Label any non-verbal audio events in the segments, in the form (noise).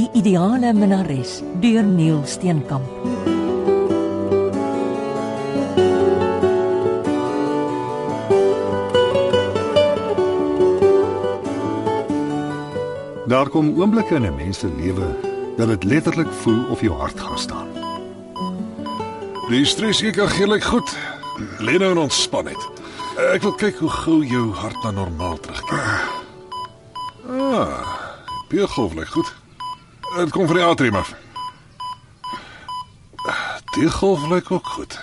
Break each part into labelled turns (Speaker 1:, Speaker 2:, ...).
Speaker 1: 'n minnares deur Neil Steenkamp.
Speaker 2: Daar kom oomblikke in 'n mens se lewe dat dit letterlik voel of jou hart gaan staan.
Speaker 3: Die stres ek kan gelukkig goed. Lê nou en ontspan net. Ek wil kyk hoe gou jou hart na normaal terugkeer. Ah, beelgolf lyk goed. Dit kom van die atrium af. Die golf lyk ook goed.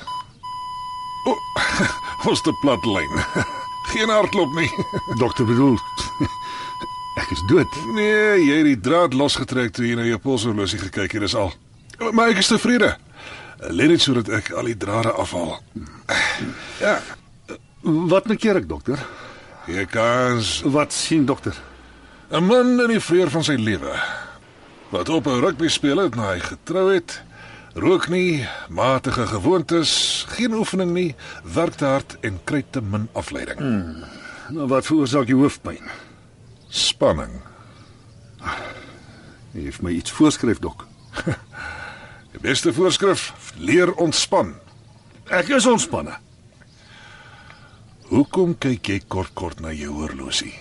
Speaker 3: O, (laughs) oh, ons te plat lyn. (laughs) Geen hartklop nie.
Speaker 2: Dokter bedoel ek is dood.
Speaker 3: Nee, jy het die draad losgetrek toe jy na jou polshorlosie gekyk het, dis al. Maar ek is tevrede. Lê net sodat ek al die drade afhaal. Ja,
Speaker 2: Wat maak ek, dokter?
Speaker 3: jy kans
Speaker 2: Wat sien dokter?
Speaker 3: 'n man in die vreur van sy lewe wat op 'n rugby speel het nadat hy getrou het, rook nie, matige gewoontes, geen oefening nie, werk te hard en kry te min afleiding.
Speaker 2: Nou wat veroorsaak die hoofpyn?
Speaker 3: Spanning.
Speaker 2: Jy het my iets voorskryf, dok.
Speaker 3: Die beste voorskrif: leer ontspan.
Speaker 2: Ek is ontspanne.
Speaker 3: Hoekom kyk jy kort kort na jou horlosie?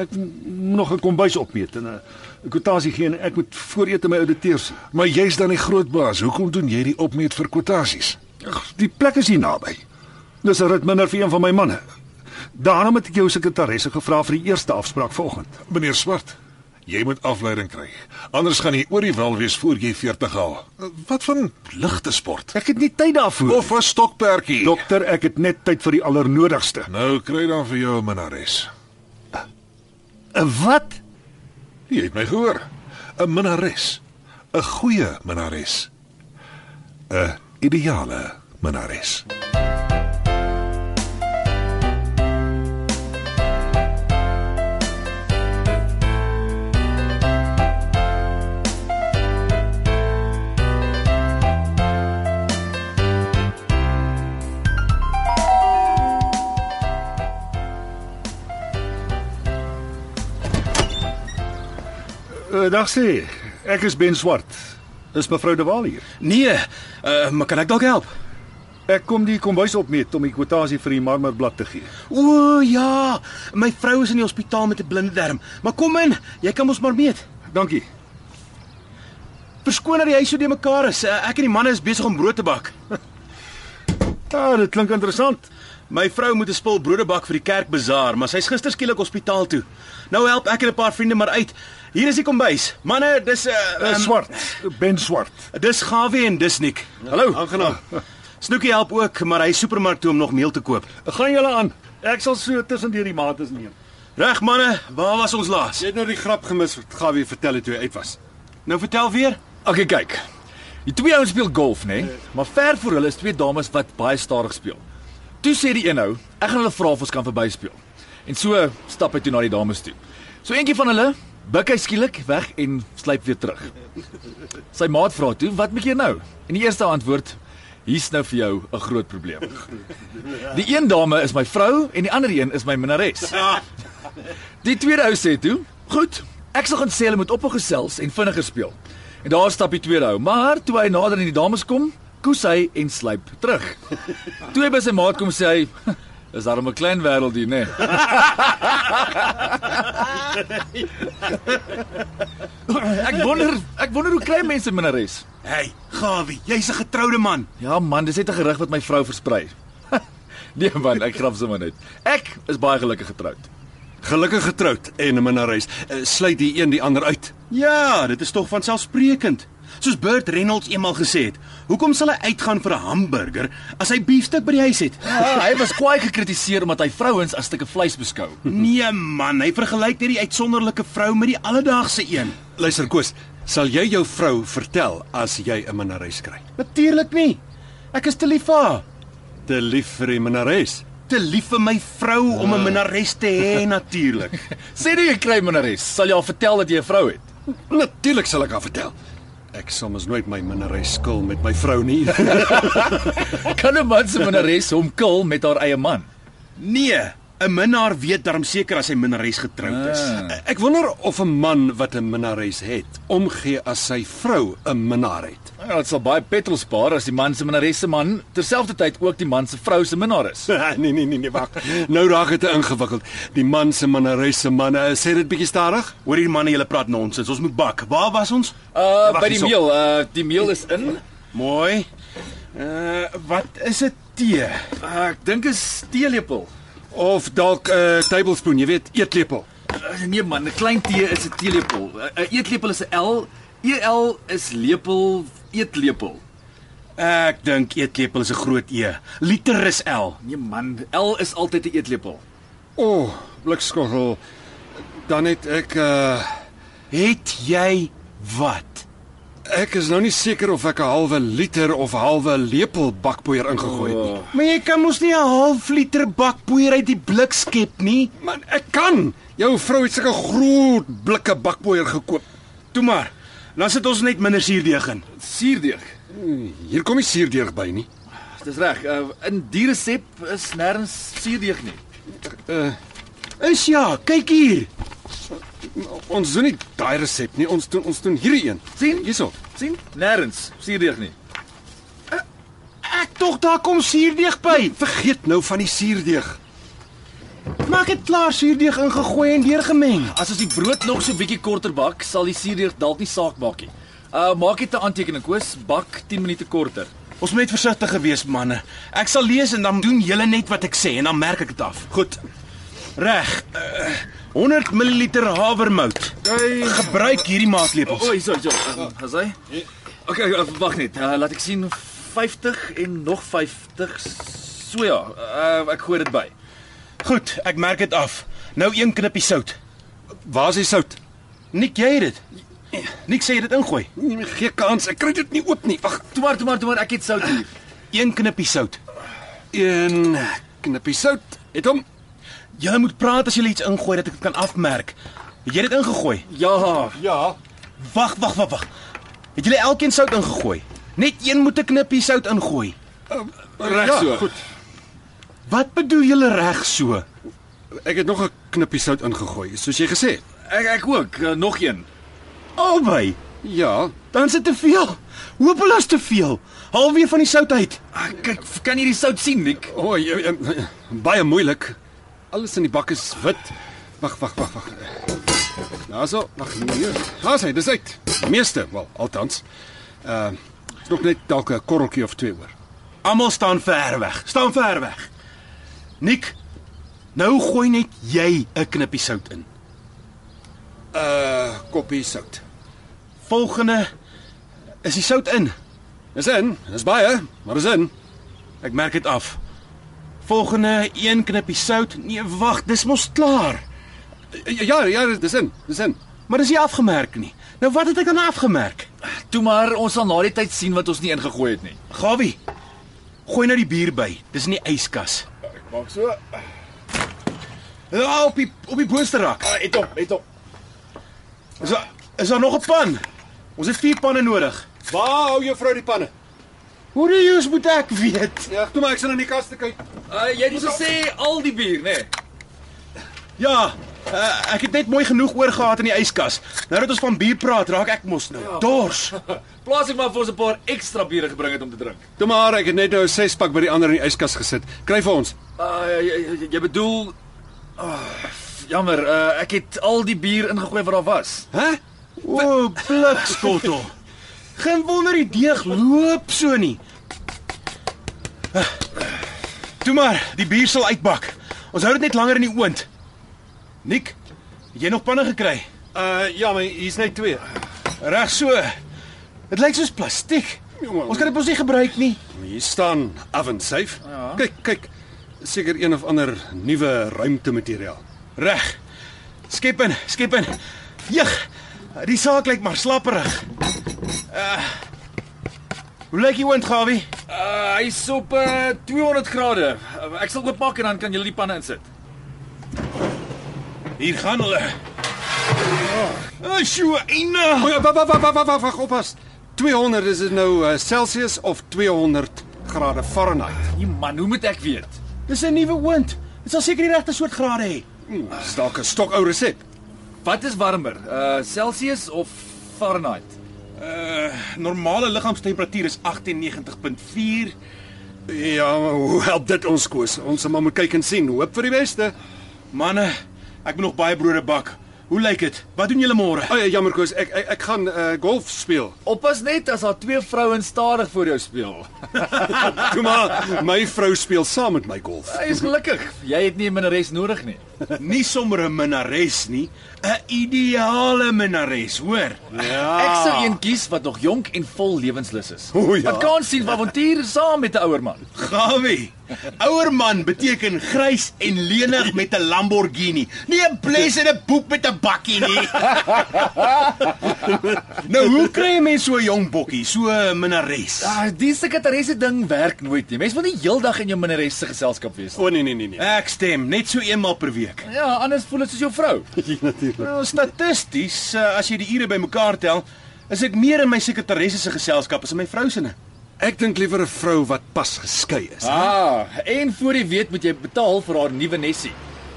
Speaker 2: Ek moet nog 'n kombuis opmeet en 'n 'n kwotasie gee en ek moet vooreet in my ouditeur sien.
Speaker 3: Maar jy's dan die groot baas. Hoekom doen jy die opmeet vir kwotasies?
Speaker 2: Ag, die plek is hier naby. Dis 'n rit minder vir een van my manne. Daarom het ek jou sekretaresse gevra vir die eerste afspraak vanoggend.
Speaker 3: Meneer Swart, jy moet afleiding kry. Anders gaan jy oor die wal wees voor jy 40 haal. Eh, Wat van ligte sport
Speaker 2: Ek het nie tyd daarvoor.
Speaker 3: of 'n stokperdjie?
Speaker 2: dokter, ek het net tyd vir die allernodigste.
Speaker 3: Nou kry dan vir jou 'n minnares.
Speaker 2: Wat?
Speaker 3: Jy het my gehoor. 'n Minnares. 'n Goeie minnares. 'n Ideale minnares.
Speaker 2: Uh, dag sê, ek is Ben Swart. Is mevrou De Waal hier?
Speaker 4: Nee, uh, maar kan ek dalk help?
Speaker 2: Ek kom die kombuis opmeet om die kwotasie vir die marmerblad te gee.
Speaker 4: O ja, my vrou is in die hospitaal met 'n blinde darm. Maar kom in, jy kan mos maar meet.
Speaker 2: Dankie.
Speaker 4: Verskoon dat die huis so de mekaar is. Uh, Ek en die manne is besig om brood te bak.
Speaker 2: Ja, dit klink interessant.
Speaker 4: My vrou moet 'n spul brode bak vir die kerkbazaar, maar sy's gister skielik hospitaal toe. Nou help ek en 'n paar vriende maar uit. Hier is die kombuis. Manne, dis 'n uh,
Speaker 2: Uh,
Speaker 4: um,
Speaker 2: swart, Ben Swart.
Speaker 4: Dis Gawie en dis Nick.
Speaker 2: Ja,
Speaker 4: Hallo. Aangenaam. Snoekie help ook, maar hy is supermark toe om nog meel te koop.
Speaker 2: Gaan julle aan. Ek sal so tussendeur die maats neem.
Speaker 4: Reg manne, waar was ons laas?
Speaker 5: Jy het nou die grap gemis wat Gawie vertel het toe hy uit was.
Speaker 4: Nou vertel weer.
Speaker 6: Okay, kyk. Die twee ouens speel golf, né? Nee? Maar ver voor hulle is twee dames wat baie stadig speel. Toe sê die een ou, ek gaan hulle vra of ons kan verbyspeel. En so stap hy toe na die dames toe. So eentjie van hulle buig hy skielik weg en sluip weer terug. Sy maat vra toe, "Wat maak jy nou?" En die eerste antwoord, "Hier's nou vir jou 'n groot probleem." Die een dame is my vrou en die ander een is my minnares. Die tweede ou sê toe, "Goed, ek sal gaan sê hulle moet ophou gesels en vinniger speel." En daar stap die tweede ou, maar toe hy nader aan die dames kom, koes hy en slyp terug. Toe hy by sy maat kom sê hy, "Is daar 'n klein wêreld hier, né?" Nee? ek wonder, ek wonder hoe kry mense minnares?
Speaker 4: Hey, Gawie, jy's 'n getroude man.
Speaker 6: Ja man, dis net 'n gerig wat my vrou versprei. (laughs) nee man, ek graf sommer net. Ek is baie gelukkig getroud.
Speaker 5: Gelukkig getroud en 'n minnares. Eh, Sluit die een die ander uit.
Speaker 4: Ja, dit is tog van selfsprekend. Soos Bert Reynolds eenmal gesê het, hoekom sal hy uitgaan vir 'n hamburger as hy beefstuk by die huis het?
Speaker 6: (laughs) Ah, hy was kwaai gekritiseer omdat hy vrouens as stukke vleis beskou.
Speaker 4: Nee man, hy vergelyk net die uitsonderlike vrou met die alledaagse een.
Speaker 5: Luister Koos, sal jy jou vrou vertel as jy 'n minnares kry?
Speaker 4: Natuurlik nie. Ek is te lief vir haar.
Speaker 5: Te lief vir die minnares.
Speaker 4: Te lief vir my vrou
Speaker 6: Ah.
Speaker 4: om 'n minnares te hê (laughs) natuurlik.
Speaker 6: Sê nou jy kry minnares, sal jy haar vertel dat jy 'n vrou het.
Speaker 5: Natuurlik sal ek haar vertel. Ek sal mos nooit my minnares skil met my vrou (laughs) nie.
Speaker 6: Kan 'n man se minnares hom kill met haar eie man?
Speaker 4: Nee, 'n Minnaar weet darm seker as hy minnares getroud is. Eh,
Speaker 5: Ek wonder of 'n man wat 'n minnares het, omgee as sy vrou 'n minnaar het. (laughs)
Speaker 6: Ja, dit sal baie petrol spaar as die man se minnares se man terselfdertyd ook die man se vrou se minnaar is.
Speaker 5: nee nee nee nee wag. Nou raak dit ingewikkeld. Die man se minnares se manne, eh, sê dit bietjie stadig?
Speaker 4: Hoor hier manne, julle praat nonsens. Ons moet bak. Waar was ons?
Speaker 6: Uh
Speaker 5: Wag,
Speaker 6: by die
Speaker 5: hierso.
Speaker 6: meel, uh die meel is in.
Speaker 4: Mooi.
Speaker 5: Eh,
Speaker 4: Uh wat is 'n tee?
Speaker 6: Uh, ek dink is teelepel.
Speaker 5: Of dalk 'n uh, tablespoon, jy weet, eetlepel.
Speaker 6: Uh, nee man, 'n klein tee is 'n teelepel. 'n uh, Eetlepel is 'n L. EL is lepel, eetlepel.
Speaker 4: Ek dink eetlepel is 'n groot E. Liter is L.
Speaker 6: Nee man, L is altyd 'n eetlepel.
Speaker 5: O, oh, blikskottel. Dan het ek uh
Speaker 4: Het jy wat?
Speaker 5: ek is nou nie seker of ek 'n halwe liter of halwe lepel bakpoeier ingegooi het nie. Oh.
Speaker 4: Maar jy kan mos nie 'n half liter bakpoeier uit die blik skep nie.
Speaker 5: Man, ek kan. Jou vrou het sulke groot blikke bakpoeier gekoop.
Speaker 4: Toe maar. Dan sit ons net minder suurdeeg in.
Speaker 6: Suurdeeg.
Speaker 5: Hier kom nie suurdeeg by nie.
Speaker 6: Dis reg. Uh, in die resep is nêrens suurdeeg nie.
Speaker 4: Is ja, kyk hier.
Speaker 5: Ons doen nie daai resep nie. Ons doen ons doen hierdie een.
Speaker 6: sien?
Speaker 5: Hierso.
Speaker 6: sien? Nêrens suurdeeg nie.
Speaker 4: Ek tog daar kom suurdeeg by.
Speaker 5: Vergeet nou van die suurdeeg.
Speaker 4: Maar ek het klaar suurdeeg ingegooi en deurgemeng.
Speaker 6: As ons die brood nog so bietjie korter bak, sal die suurdeeg dalk nie saak maak nie. Uh maak dit 'n aantekening koes, bak 10 minute korter.
Speaker 4: Ons moet net versigtig gewees, manne. Ek sal lees en dan doen julle net wat ek sê en dan merk ek dit af. Goed. Reg. Uh, 100 ml havermout. Gebruik hierdie
Speaker 6: O, oh,
Speaker 4: maatlepels.
Speaker 6: hierso, hierso. Uh, As hy. Okay, uh, wag net. Uh, laat ek sien 50 en nog 50. So ja, uh, ek gooi dit by.
Speaker 4: Goed, ek merk dit af. Nou een knippie sout.
Speaker 5: Waar is die sout?
Speaker 4: Nik jy het dit. Nik sê jy het dit ingooi.
Speaker 5: Nee, maar gee kans. Ek kry dit nie oop nie. Wag.
Speaker 6: Toe maar, toe maar, toe maar, ek het sout hier.
Speaker 4: Een knippie sout.
Speaker 5: Een knippie sout. Het hom.
Speaker 4: Jy moet praat as jy iets ingooi dat ek dit kan afmerk. Het jy dit ingegooi?
Speaker 6: Ja.
Speaker 5: Ja.
Speaker 4: Wag, wag, wag, wag. Het julle elkeen sout ingegooi? Net een moet 'n knippie sout ingooi.
Speaker 5: Reg
Speaker 6: Ja,
Speaker 5: so.
Speaker 6: goed.
Speaker 4: Wat bedoel julle reg so?
Speaker 5: Ek het nog 'n knippie sout ingegooi, soos jy gesê het.
Speaker 6: Ek ek ook, uh, nog een.
Speaker 4: Albei.
Speaker 5: Ja.
Speaker 4: Dan sit te veel. Hopeloos te veel. Haal weer van die sout uit.
Speaker 6: Ek Ah, kyk, kan jy die sout sien, Nick?
Speaker 5: O, jy- jy- baie moeilik. Alles in die bak is wit. Wag, wag, wag, wag. Daarso, wag nee. Daar's hy, dis uit. Meeste, wel, althans. Ehm uh, nog net dalk 'n korreltjie of twee oor.
Speaker 4: Almal staan ver weg. Staan ver weg. Nik, nou gooi net jy 'n knippie sout in.
Speaker 5: Uh, koppie sout.
Speaker 4: Volgende is die sout in.
Speaker 5: Dis in, dis baie, maar dis in.
Speaker 4: Ek merk dit af. Volgende een knippie sout. Nee, wag, dis mos klaar.
Speaker 5: Ja, ja, dis in, dis in.
Speaker 4: Maar dis nie afgemerk nie. Nou wat het ek dan afgemerk?
Speaker 6: Toe maar, ons sal na die tyd sien wat ons nie ingegooi het nie.
Speaker 4: Gawie. Gooi nou die bier by. Dis in die yskas.
Speaker 6: Maak so.
Speaker 4: Ja, op die op die boonste rak.
Speaker 6: Ah, Het hom, het hom.
Speaker 4: Is daar is daar nog 'n pan? Ons het vier panne nodig.
Speaker 5: Waar hou juffrou die panne?
Speaker 4: Hoe die jous moet ek weet?
Speaker 5: Ja, toe maar ek sal in die kas te kyk.
Speaker 6: Uh, jy het nie gesê al die bier, nê? Nee.
Speaker 4: Ja, uh, ek het net mooi genoeg oor gehad in die yskas. Nou dat ons van bier praat, raak ek mos
Speaker 6: Ja.
Speaker 4: nou dors.
Speaker 6: Plaas ek maar vir ons 'n paar ekstra biere gebring het om te drink.
Speaker 5: Toe maar ek het net nou 'n 6 pak by die ander in die yskas gesit. Kry vir ons.
Speaker 6: Uh, jy, jy, jy bedoel oh, jammer, uh, ek het al die bier ingegooi wat daar was.
Speaker 5: Hæ?
Speaker 4: O, blikskottel. Geen wonder die deeg loop so nie. Toe maar, die bier sal uitbak. Ons hou dit net langer in die oond. Nik, het jy nog panne gekry?
Speaker 5: Uh ja, maar hier's net twee.
Speaker 4: Reg so. Dit lyk soos plastiek.
Speaker 5: Jongen.
Speaker 4: Ons kan dit mos nie gebruik nie.
Speaker 5: Hier staan oven safe. Ja. Kyk, kyk. Seker een of ander nuwe ruimtemateriaal.
Speaker 4: Reg. Skep in, skep in. Jeg. Die saak lyk maar slapperig. Uh, hoe lyk die wind, Gawie?
Speaker 6: Uh, hy's op uh, 200 grade. Uh, ek sal oopmaak en dan kan julle die panne insit.
Speaker 4: Hier gaan hulle. Ah, sjoe,
Speaker 5: O,
Speaker 4: eina.
Speaker 5: ja, wag, wag, wag, wag, wag, wag, oppas. 200 is dit nou uh, Celsius of 200 grade Fahrenheit.
Speaker 6: Nee man, hoe moet ek weet?
Speaker 4: Dis 'n nuwe wind. Dit sal seker die regte soort grade hê.
Speaker 5: Dis dalk 'n stokou resep.
Speaker 6: Wat is warmer? Uh Celsius of Fahrenheit?
Speaker 4: Normale liggaamstemperatuur is 98.4.
Speaker 5: Ja, maar hoe help dit ons koes? Ons sal maar moet kyk en sien, hoop vir die beste.
Speaker 4: Manne, ek moet nog baie brode bak. Hoe lyk dit? Wat doen julle môre?
Speaker 5: O, jammer koes, ek ek, ek gaan uh, golf speel.
Speaker 6: Oppas net as daar twee vrouens stadig voor jou speel.
Speaker 5: Toe maar, my vrou speel saam met my golf.
Speaker 6: Hy is gelukkig. Jy het nie 'n minnares nodig nie.
Speaker 4: Nie sommer 'n minnares nie, 'n ideale minnares, hoor. Ja.
Speaker 6: Ek sou een kies wat nog jonk en vol lewenslus is.
Speaker 5: O, ja.
Speaker 6: Wat kan sien van avontuur saam met 'n ouer man.
Speaker 4: Gawie. Ouer man beteken grys en lenig met 'n Lamborghini. Nie 'n bles en 'n boek met 'n bakkie nie. (laughs) nou, hoe kry 'n mens so 'n jong bokkie, so 'n minnares?
Speaker 6: Ah, die sekretaresse ding werk nooit nie. Mense wil nie heeldag in jou minnares se geselskap wees nie.
Speaker 5: O nee nee nee nee.
Speaker 4: Ek stem, net so eenmal per week.
Speaker 6: Ja, anders voel dit soos jou vrou.
Speaker 4: Nou, statisties, eh, as jy die ure bymekaar tel, is ek meer in my sekretaresse se geselskap as in my vrou se. ne.
Speaker 5: Ek dink liewer 'n vrou wat pas geskei is.
Speaker 6: Ah, en voor jy weet moet jy betaal vir haar nuwe nessie.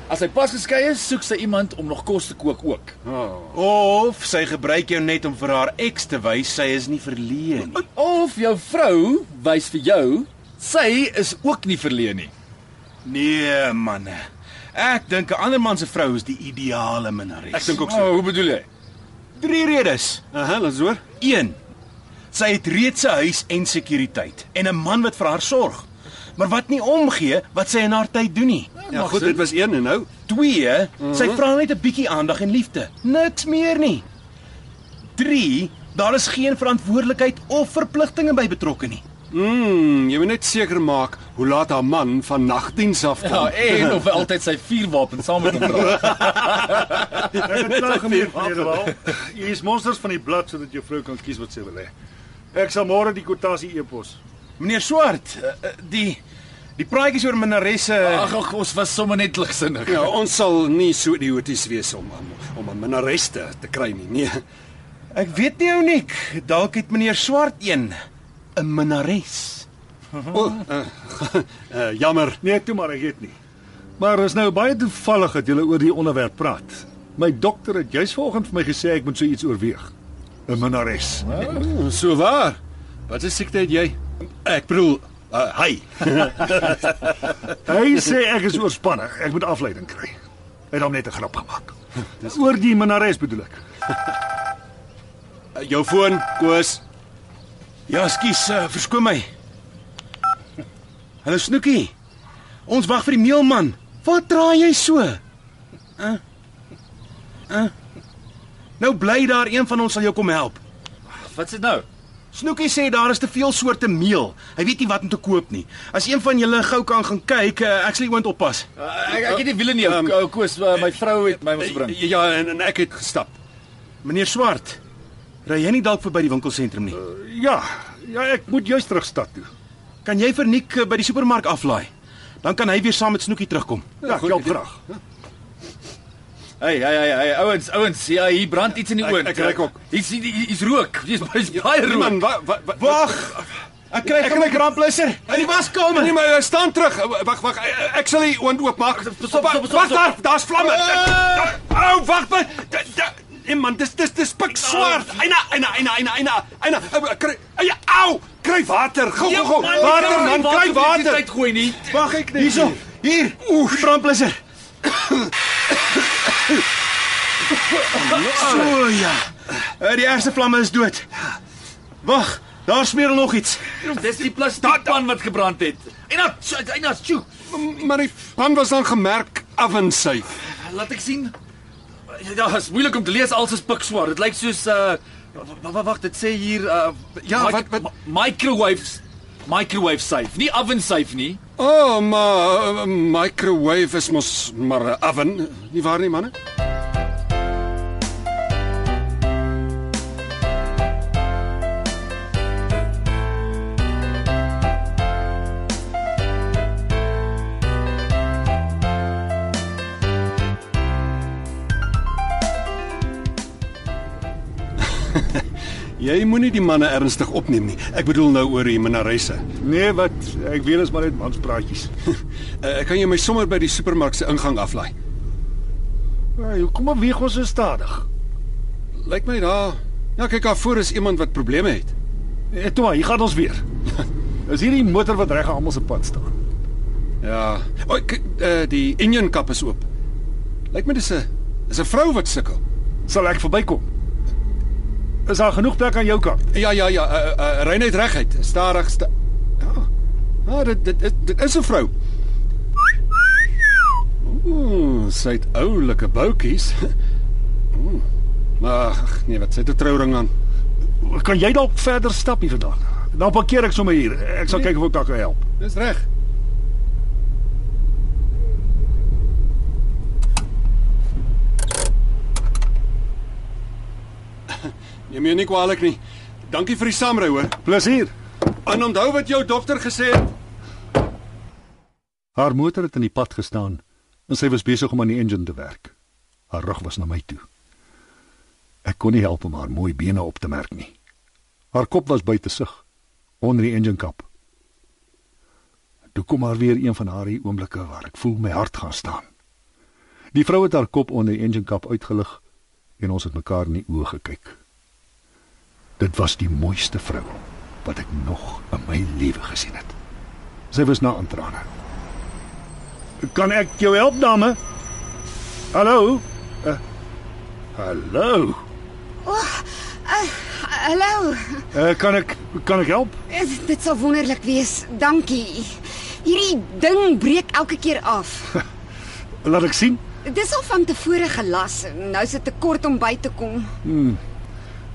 Speaker 6: As hy pas geskei is, soek sy iemand om nog kos te kook ook.
Speaker 4: Of sy gebruik jou net om vir haar ex te wys sy is nie verleë nie.
Speaker 6: Of jou vrou wys vir jou sy is ook nie verleen nie.
Speaker 4: Nee, manne. Ek dink 'n ander man se vrou is die ideale minnares.
Speaker 5: Ek dink ook so.
Speaker 6: Oh, hoe bedoel jy?
Speaker 4: drie redes.
Speaker 5: Aha, laat hoor.
Speaker 4: 1. Sy het reeds 'n huis en sekuriteit en 'n man wat vir haar sorg, maar wat nie omgee wat sy in haar tyd doen nie.
Speaker 5: Ja, goed, dit Mhm. was een en nou.
Speaker 4: 2. Sy vra net 'n bietjie aandag en liefde, niks meer nie. 3. Daar is geen verantwoordelikheid of verpligtinge by betrokke nie.
Speaker 5: Mm, jy moet net seker maak hoe laat haar man van nagdiens af
Speaker 6: Ja,
Speaker 5: kom.
Speaker 6: en of hy altyd sy vuurwapen saam
Speaker 5: (laughs)
Speaker 6: met hom dra.
Speaker 2: Ek het klaar gemeet Frederik. Hier is monsters van die blad sodat jou vrou kan kies wat sy wil hê. Ek sal môre die kwotasie e-pos.
Speaker 4: Meneer Swart, eh, eh, die die praatjies oor minnaresse,
Speaker 6: Ag, ag, ons was sommer net ligsinnig.
Speaker 5: Ja, ons sal nie so idioties wees om om, om 'n minnares te, te kry nie. Nee.
Speaker 4: ek weet nie ou nik, dalk het meneer Swart een 'n minnares.
Speaker 5: O, uh, uh, jammer.
Speaker 2: Nee, toe maar ek weet nie. Maar is nou baie toevallig dat julle oor die onderwerp praat. My dokter het juis vanoggend vir my gesê ek moet so iets oorweeg. 'n Minares.
Speaker 5: Mm, so waar. Wat is siekte het jy? Ek bedoel, uh, hy.
Speaker 2: Hy sê ek is oorspanne, ek moet afleiding kry. Hy het hom net 'n grap
Speaker 5: (laughs)
Speaker 2: gemaak. Dis oor die minares bedoel ek.
Speaker 5: Uh, jou foon, Koos.
Speaker 4: Ja, skus, uh, verskoon my. Hallo Snoekie. Ons wag vir die meelman. Wat draai jy so? Hæ? Uh, uh. Nou bly daar een van ons sal jou kom help.
Speaker 6: Wat's dit nou?
Speaker 4: Snoekie sê daar is te veel soorte meel. Hy weet nie wat om te koop nie. As een van julle gou kan gaan kyk, uh, ek sal iemand oppas.
Speaker 6: Uh, ek ek het die wiele nie.
Speaker 5: Ehm,
Speaker 6: Um, ou Koos, uh, my vrou het my mos gebring.
Speaker 5: Ja, en, en ek het gestap.
Speaker 4: Meneer Swart, ry jy nie dalk verby die winkelsentrum nie?
Speaker 2: Ja, ja, ek moet juis terug stad toe.
Speaker 4: Kan jy vir Nick eh, by die supermark aflaai? Dan kan hy weer saam met Snoekie terugkom.
Speaker 2: Ja,
Speaker 5: goed
Speaker 2: klop
Speaker 5: idee.
Speaker 2: graag.
Speaker 6: Hey, hey, hey, hey, ouens, ouens, ja, hier brand iets in die
Speaker 5: Ek-
Speaker 6: oond.
Speaker 5: ek ruik ook. Ja,
Speaker 6: Hier's hier's rook. Hier's baie baie rook.
Speaker 5: Man, wat wat
Speaker 4: Wag. Ek kry van my kramplusser. In die waskamer.
Speaker 5: Nee, maar uh, staan terug. Uh, Wag, wag. uh, Ek sal die oond oopmaak.
Speaker 6: stop, stop, stop.
Speaker 5: Wag daar, daar's vlamme.
Speaker 6: Nee!
Speaker 5: Ou, wag maar. Da- da- Nee man, dis dis dis pik swart. Eh. Eina, eina, eina, eina, eina. Eina, Ou, kry. eia, Au, kry water. Gou, gou, gou. Water man, kry water.
Speaker 6: Tyd gooi nie.
Speaker 4: Wag ek net. Hierso. Hier. Oef, brandblusser. so ja. Eh, Die eerste vlamme is dood. Wag, daar smeer nog iets.
Speaker 6: Dis die plastiekpan wat gebrand het. En nou, en nou, sjoe.
Speaker 5: M- Maar die pan was dan gemerk ovensuif.
Speaker 6: Laat ek sien. Ja, dit is moeilik om te lees als is pikswart. Dit lyk soos uh wag, dit sê hier uh
Speaker 5: Ja,
Speaker 6: mic-
Speaker 5: wat- wat-
Speaker 6: mi- microwaves microwave safe. Nie oven safe nie.
Speaker 5: O, oh, maar uh, microwave is mos maar 'n oven, nie waar nie manne? (laughs) Jy moenie die manne ernstig opneem nie. Ek bedoel nou oor die Minaresse.
Speaker 2: Nee, wat ek weet is maar net manspraatjies.
Speaker 5: (laughs) Uh, kan jy my sommer by die supermark se ingang aflaai?
Speaker 2: Hey, hoekom beweeg ons so stadig?
Speaker 5: Lyk my daar. Ja, kyk daar voor is iemand wat probleme het.
Speaker 2: Eh, Toe maar, hier gaan ons (laughs) weer. Is hierdie motor wat reg aan almal se pad staan.
Speaker 5: Ja. O, oh, uh, die Indian kap is oop. Lyk my dis 'n is 'n vrou wat sukkel.
Speaker 2: Sal ek verbykom? Is daar genoeg plek aan jou kant?
Speaker 5: Ja ja ja, uh, uh, ry net reguit. Stadig. Sta ja. Ja, dit dit dit, dit is 'n vrou. Ooh, sy het oulike boutjies. (laughs) Ooh. Maar ag, nee, wat sy het 'n trouring aan.
Speaker 2: Kan jy dalk verder stap hier vandag? Dan parkeer ek sommer hier. Ek sal kyk of ek daar kan help.
Speaker 5: Dis reg. Jy meen nie kwaadlik nie. Dankie vir die saamry hoor.
Speaker 2: Plezier.
Speaker 5: En onthou wat jou dokter gesê het.
Speaker 2: Haar motor het in die pad gestaan en sy was besig om aan die engine te werk. Haar rug was na my toe. Ek kon nie help om haar mooi bene op te merk nie. Haar kop was buite sig onder die engine kap. Toe kom maar weer een van haar oomblikke waar ek voel my hart gaan staan. Die vrou het haar kop onder die engine kap uitgelig en ons het mekaar in die oë gekyk. Dit was die mooiste vrou wat ek nog in my lewe gesien het. Sy was na aan trane. Kan ek jou help, dame? Hallo? Eh, hallo.
Speaker 7: Hallo.
Speaker 2: Eh, kan ek kan ek help?
Speaker 7: Eh, Dit sal wonderlik wees. Dankie. Hierdie ding breek elke keer af.
Speaker 2: Laat ek sien.
Speaker 7: Dis al van tevore gelas. Nou is dit te kort om by te kom.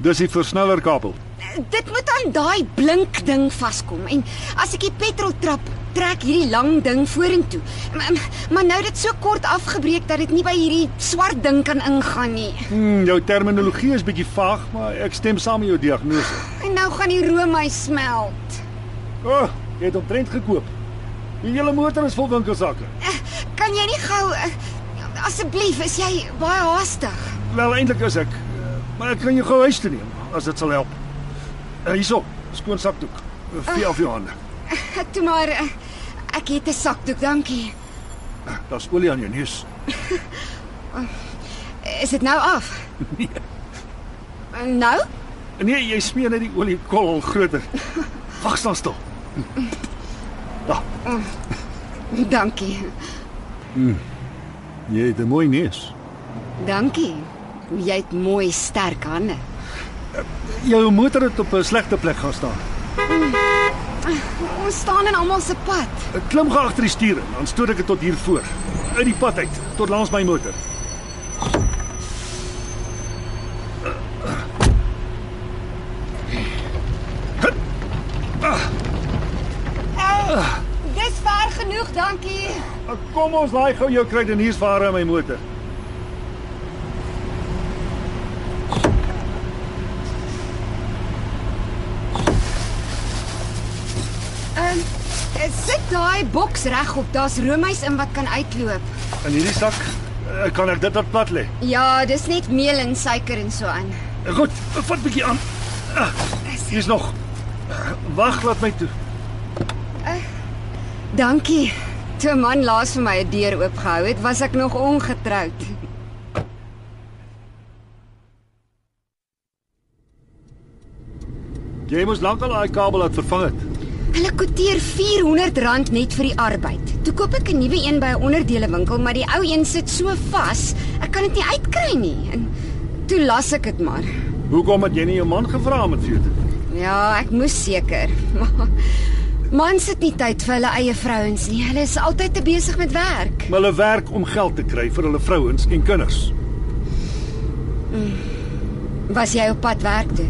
Speaker 2: Dis die versnellerkabel.
Speaker 7: Eh, Dit moet aan daai blink ding vaskom en as ek die petrol trap, trek hierdie lang ding vorentoe. Maar, maar nou dit so kort afgebreek dat dit nie by hierdie swart ding kan ingaan nie.
Speaker 2: Hmm, jou terminologie is bietjie vaag, maar ek stem saam met jou diagnose.
Speaker 7: En nou gaan die roomys smelt.
Speaker 2: O, oh, jy het omtrent gekoop. Die hele motor is vol winkelsakke.
Speaker 7: Kan jy nie gou eh, asseblief, is jy baie haastig?
Speaker 2: Wel eintlik is ek, eh, maar ek kan jou gou huis toe neem as dit sal help. Uh, hierso, skoon sakdoek. Vier af jou hande.
Speaker 7: Toe maar eh, ek het 'n sakdoek, dankie.
Speaker 2: Daar's olie aan jou neus.
Speaker 7: Is dit nou af? Nee. Nou?
Speaker 2: Nee, jy smeer net die olie kol groter. Wag staan stil.
Speaker 7: Dankie.
Speaker 2: Jy het 'n mooi neus.
Speaker 7: Dankie. Jy het mooi sterk hande.
Speaker 2: Jou motor het op 'n slegte plek gaan staan.
Speaker 7: Ons staan in almal se pad.
Speaker 2: Ek klim gou agter die stuur in, dan stoot ek dit tot hier voor, uit die pad uit, tot langs my motor.
Speaker 7: Dis ver genoeg, dankie.
Speaker 2: Kom ons laai gou jou kruideniersware in my motor.
Speaker 7: Ehm sit daai boks regop. Daar's roomys in wat kan uitloop.
Speaker 2: In hierdie sak eh, kan ek dit op plat lê.
Speaker 7: Ja, dis net meel en suiker en so aan.
Speaker 2: Goed, vat bietjie aan. Ah, Hier's nog. Wag, laat my toe.
Speaker 7: Dankie. Toe 'n man laas vir my 'n deur oopgehou het, was ek nog ongetroud.
Speaker 2: Jy moes lankal daai kabel laat vervang het.
Speaker 7: Hulle kwoteer R400 net vir die arbeid. Toe koop ek 'n nuwe een by 'n onderdelewinkel, maar die ou een sit so vas, ek kan dit nie uitkry nie. En toe las ek dit maar.
Speaker 2: Hoekom het jy nie jou man gevra om dit vir jou te doen?
Speaker 7: Ja, ek moes seker. (laughs) Maar mans het nie tyd vir hulle eie vrouens nie. Hulle is altyd te besig met werk.
Speaker 2: Maar hulle werk om geld te kry vir hulle vrouens en kinders.
Speaker 7: Was jy op pad werk toe?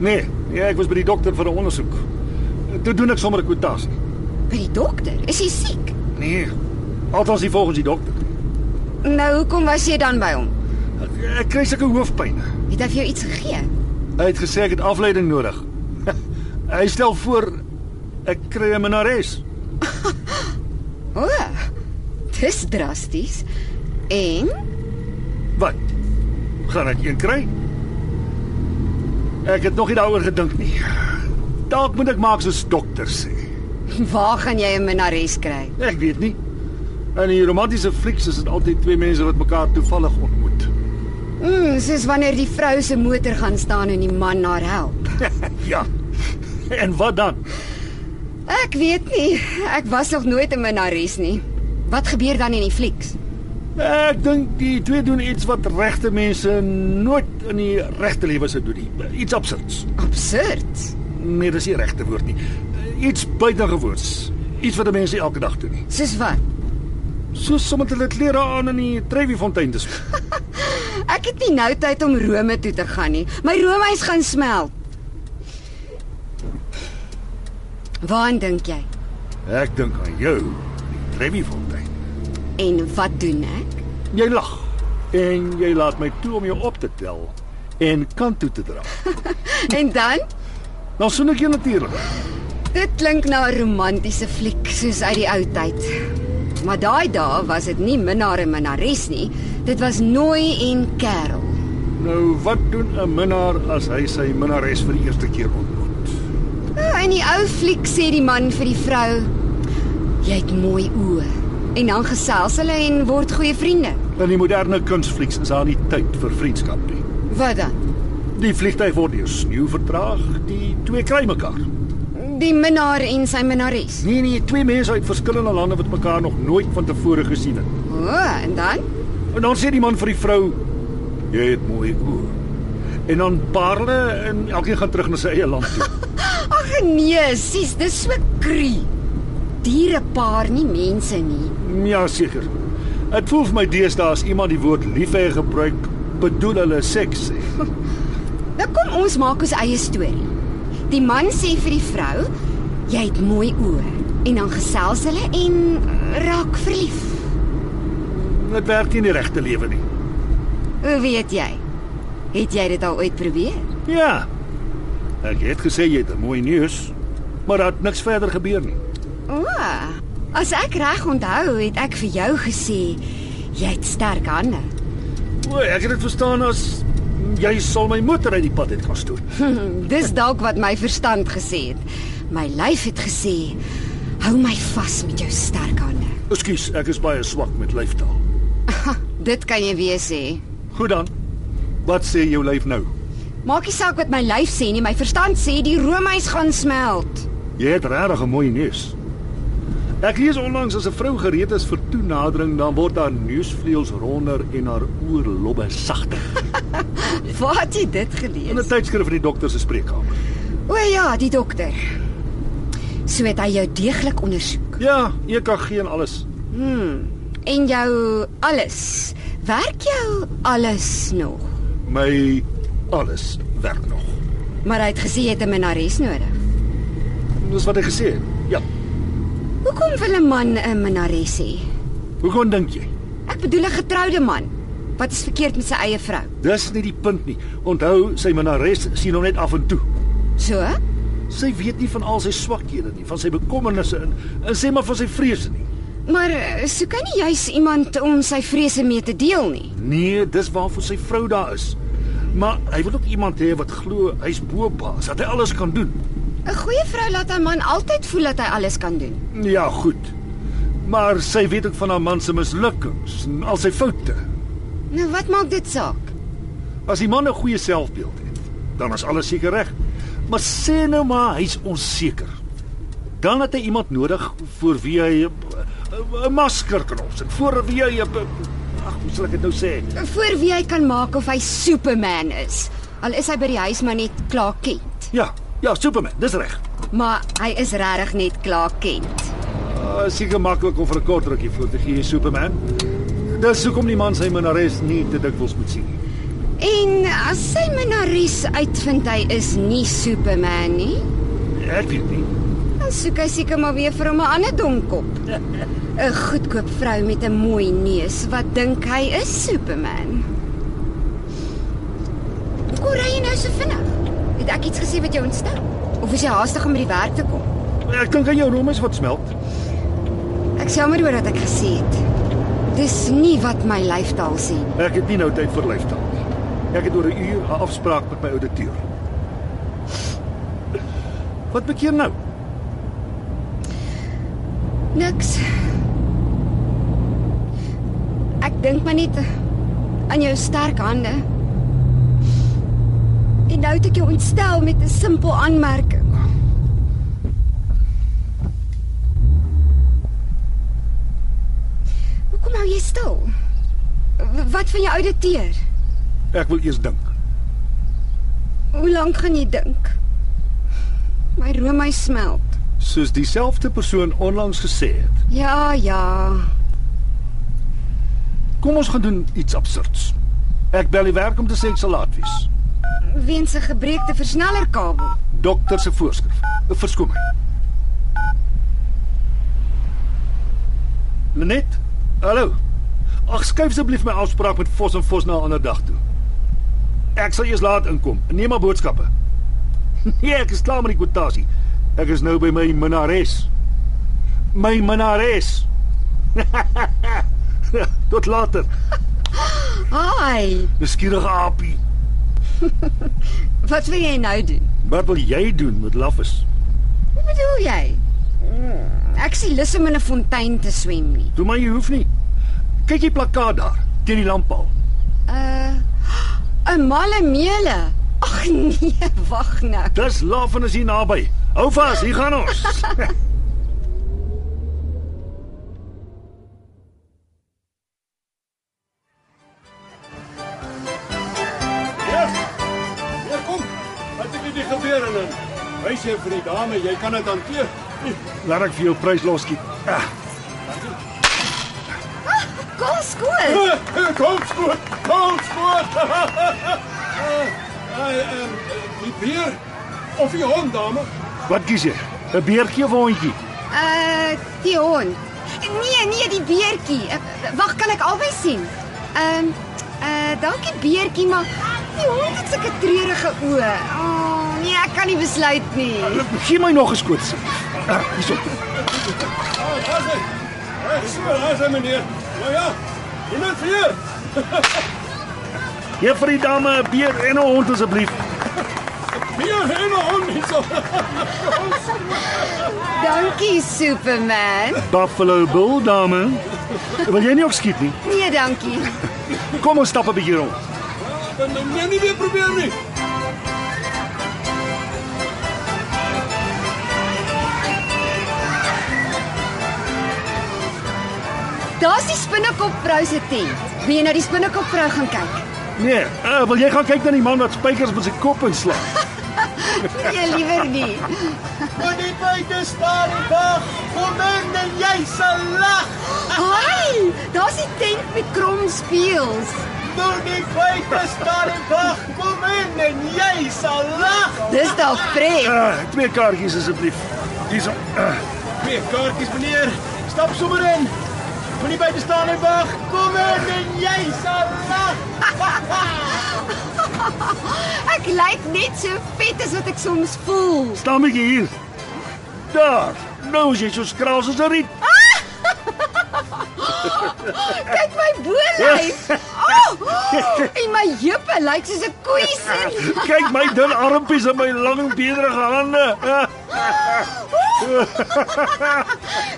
Speaker 2: Nee, nee, ek was by die dokter vir 'n ondersoek. Toe doen ek sommer 'n kwotasie.
Speaker 7: By die dokter? Is jy siek?
Speaker 2: Nee. Althans nie volgens die dokter.
Speaker 7: Nou hoekom was jy dan by hom?
Speaker 2: Ek, ek kry sulke hoofpyn.
Speaker 7: Het hy vir jou iets gegee?
Speaker 2: Hy het gesê ek het afleiding nodig. (laughs) Hy stel voor ek kry 'n minares.
Speaker 7: O. Oh, dis drasties. En (laughs)
Speaker 2: Wat? Gaan ek een kry? Ek het nog nie daaroor gedink nie. Dalk moet ek maak soos dokter sê.
Speaker 7: Waar gaan jy 'n minnares kry?
Speaker 2: Ek weet nie. In 'n romantiese flieks is dit altyd twee mense wat mekaar toevallig ontmoet. (laughs)
Speaker 7: Mm, soos wanneer die vrou se motor gaan staan en die man haar help.
Speaker 2: Ja. En wat dan?
Speaker 7: Ek weet nie, ek was nog nooit 'n minnares nie. Wat gebeur dan in die flieks?
Speaker 2: Ek dink die twee doen iets wat regte mense nooit in die regte lewe sou doen nie. Iets absurds.
Speaker 7: Absurd.
Speaker 2: Nee, dis nie die regte woord nie. Iets buitengewoons. Iets wat mense nie elke dag doen nie.
Speaker 7: Soos wat?
Speaker 2: Soos sommer hulle klere aan in die Trevi-fontein te speel.
Speaker 7: Ek het nie nou tyd om Rome toe te gaan nie. My roomys gaan smelt. Waar dink jy?
Speaker 2: Ek dink aan jou, die Trevi-fontein.
Speaker 7: En wat doen ek?
Speaker 2: Jy lag en jy laat my toe om jou op te tel en kant toe te dra.
Speaker 7: En dan?
Speaker 2: Dan soen ek jou natuurlik.
Speaker 7: Dit klink na 'n romantiese fliek soos uit die ou tyd. Maar daai dae was dit nie minnaar en minnares nie. Dit was Nooi en Karel.
Speaker 2: Nou wat doen 'n minnaar as hy sy minnares vir die eerste keer ontmoet?
Speaker 7: Ah, In die ou fliek sê die man vir die vrou: "Jy het mooi oë." En dan gesels hulle en word goeie vriende.
Speaker 2: In die moderne kunsflieks is daar nie tyd vir vriendskap nie.
Speaker 7: Wat dan?
Speaker 2: Die vliegtyg word deur sneeu vertraag, die twee kry mekaar.
Speaker 7: Die minnaar en sy minnares.
Speaker 2: Nee nee, twee mense uit verskillende lande wat mekaar nog nooit van tevore gesien het.
Speaker 7: O, oh, en dan?
Speaker 2: En dan sê die man vir die vrou: "Jy het mooi oë." En dan paar hulle en elkeen gaan terug na sy eie land toe. (laughs)
Speaker 7: Ag nee, sies, dis so krie. Diere paar nie mense nie.
Speaker 2: Ja, seker. Dit voel vir my deesdae as iemand die woord liefhê gebruik, bedoel hulle seks. (laughs)
Speaker 7: Nou kom ons maak ons eie storie. Die man sê vir die vrou: "Jy het mooi oë." En dan gesels hulle en raak verlief.
Speaker 2: Dit werk nie in die regte lewe nie.
Speaker 7: Hoe weet jy? Het jy dit al ooit probeer?
Speaker 2: Ja. Ek het gesê jy het 'n mooi neus, maar daar het niks verder gebeur nie.
Speaker 7: O. As ek reg onthou, het ek vir jou gesê jy het sterk hande. (laughs)
Speaker 2: O, ek het dit verstaan as jy sal my motor uit die pad uit gaan stoot.
Speaker 7: Dis dalk wat my verstand gesê het. My lyf het gesê: "Hou my vas met jou sterk hande."
Speaker 2: Ekskuus, ek is baie swak met lyftaal.
Speaker 7: Dit kan jy weer sê.
Speaker 2: Goed dan. Wat sê jou lyf nou?
Speaker 7: Maak nie saak wat my lyf sê nie, my verstand sê die roomys gaan smelt.
Speaker 2: Jy het regtig 'n mooi neus. Ek lees onlangs as 'n vrou gereed is vir toenadering, dan word haar neusvleuels ronder en haar oorlobbe sagter.
Speaker 7: Waar het jy dit
Speaker 2: In 'n
Speaker 7: gelees?
Speaker 2: tydskrif van die dokter se spreekkamer.
Speaker 7: O ja, die dokter. So het hy jou deeglik ondersoek
Speaker 2: Ja, EKG en alles.
Speaker 7: en jou alles. Werk jou alles nog?
Speaker 2: My alles werk nog.
Speaker 7: Maar hy het gesê jy het 'n minnares nodig.
Speaker 2: Dis wat hy gesê het. Ja.
Speaker 7: Hoekom wil 'n man 'n minnares hê?
Speaker 2: Hoekom dink jy?
Speaker 7: Ek bedoel 'n getroude man. Wat is verkeerd met sy eie vrou?
Speaker 2: Dis nie die punt nie. Onthou, sy minnares sien hom net af en toe.
Speaker 7: So?
Speaker 2: Sy weet nie van al sy swakhede nie, van sy bekommernisse en, en sê maar van sy vrese nie.
Speaker 7: Maar eh, soek hy nie juis iemand om sy vrese mee te deel nie?
Speaker 2: Nee, dis waarvoor sy vrou daar is. Maar hy wil ook iemand hê wat glo hy's boepaas, dat hy alles kan doen.
Speaker 7: 'n Goeie vrou laat 'n man altyd voel dat hy alles kan doen.
Speaker 2: Ja, goed. Maar sy weet ook van haar man se mislukkings en al sy foute.
Speaker 7: Nou wat maak dit saak?
Speaker 2: As die man 'n goeie selfbeeld het, dan is alles seker reg. Maar sê nou maar hy's onseker. Dan het hy iemand nodig vir wie hy eh, 'n masker kan opsit, vir wie hy 'n ag, hoe sal ek dit nou sê?
Speaker 7: Voor wie hy kan maak of hy Superman is. Al is hy by die huis maar net klaar kent.
Speaker 2: Ja, ja, Superman, dis reg.
Speaker 7: Maar hy is regtig net klaar kent.
Speaker 2: Uh, seker maklik om vir 'n kort rukkie voor te gee, Superman. Dis hoekom die man sy minares nie te dikwels moet sien nie.
Speaker 7: En as sy minnares uitvind hy is nie Superman nie,
Speaker 2: Ek weet nie.
Speaker 7: dan soek hy seker maar weer vir hom 'n ander domkop. 'n Goedkoop vrou met 'n mooi neus wat dink hy is Superman. Hoe ry jy nou so vinnig? Het ek iets gesê wat jou ontstel? Of is jy haastig om by die werk te kom?
Speaker 2: Ek dink aan jou roemes wat smelt.
Speaker 7: Ek sê maar oor wat ek gesê het. Dis nie wat my lyftaal sê nie.
Speaker 2: Ek het nie nou tyd vir lyftaal nie. Ek het oor 'n uur 'n afspraak met my ouditeur. Wat bekeer nou?
Speaker 7: Niks. Ek dink maar net aan jou sterk hande. En nou het ek jou ontstel met 'n simpel aanmerking. Hoekom hou jy stil? W- Wat van jou ouditeur?
Speaker 8: Ek wil eers dink.
Speaker 7: Hoe lank gaan jy dink? My roomys smelt.
Speaker 2: Soos dieselfde persoon onlangs gesê het.
Speaker 7: Ja, ja.
Speaker 2: Kom ons gaan doen iets absurds. Ek bel die werk om te sê ek sal laat wees.
Speaker 7: Weens 'n gebreekte versnellerkabel.
Speaker 2: Dokter se voorskrif. Verskoon my. Lenet? Hallo. Ag skuif asseblief my afspraak met Vos en Vos na 'n ander dag toe. Ek sal eers laat inkom. Neem maar boodskappe. (laughs) Nee, ek is klaar met die kwotasie. Ek is nou by my minares. My minares. (laughs) Tot later.
Speaker 7: Haai,
Speaker 2: Nuuskierige aapie.
Speaker 7: wat wil jy nou doen?
Speaker 2: Wat wil jy doen met Laffus?
Speaker 7: Wat bedoel jy? Mm, Ek sien lus om in 'n fontein te swem nie.
Speaker 2: Doe maar jy hoef nie. Kyk die plakkaat daar teen die lamppaal.
Speaker 7: Uh 'n malle meele. Ag nee, (laughs) wag nou.
Speaker 2: Dis laf en is hier naby. Hou vas, hier gaan ons.
Speaker 9: Ja, kom. Wat het hier gebeur en dan wys jy vir die dame, jy kan dit hanteer.
Speaker 2: (laughs) Laat ek vir jou prys loskiet.
Speaker 7: Kom skool.
Speaker 9: Kom skoot. Kom skoot. Ai, ehm die beer of die hond dame?
Speaker 2: Wat kies jy? 'n Beertjie of 'n hondjie?
Speaker 7: Uh die hond. Nee, nee, die beertjie. Eh, Wag, kan ek albei sien? Ehm uh dankie beertjie, maar die hond het sulke treurige oë. Oh, nee, ek kan nie besluit nie.
Speaker 2: Gee my nog 'n skoot. Ah, Hierso.
Speaker 9: Ah, daar's hy. Reg so, daar's hy meneer. Nou ja. Iemand hier.
Speaker 2: Hier vir die dame 'n beer en 'n hond asseblief.
Speaker 9: Hier en 'n hond hierso.
Speaker 7: Dankie Superman.
Speaker 2: Buffalo Bill dame. Wil jy nie ook skiet nie?
Speaker 7: Nee, dankie.
Speaker 2: Kom ons stap 'n bietjie rond.
Speaker 9: Nee, nie weer probeer nie.
Speaker 7: Daar's die spinnekop vrou se tent. Wil jy na die spinnekop vrou gaan kyk?
Speaker 2: Nee, uh, wil jy gaan kyk na die man wat spykers met sy kop inslaan?
Speaker 7: Nee, liewer nie.
Speaker 10: Moenie buite staan en wag. Kom in en jy sal lag.
Speaker 7: Haai, daar's die tent met krom speels.
Speaker 10: Moenie buite staan en wag. Kom in en jy sal lag.
Speaker 7: Dis dalk pret.
Speaker 2: Uh, twee kaartjies asseblief. Hierso. Uh,
Speaker 10: Twee kaartjies meneer. Stap sommer in. Moenie buite staan en wag. Kom in en jy sal lag.
Speaker 7: Ek lyk net so vet as wat ek soms voel.
Speaker 2: staan 'n bietjie hier. Daar. Nou is jy so skraal soos 'n riet.
Speaker 7: Kyk my bolyf. O! Oh, en my heupe lyk soos 'n koei se.
Speaker 2: Kyk my dun armpies en my lang bederige hande. Uh,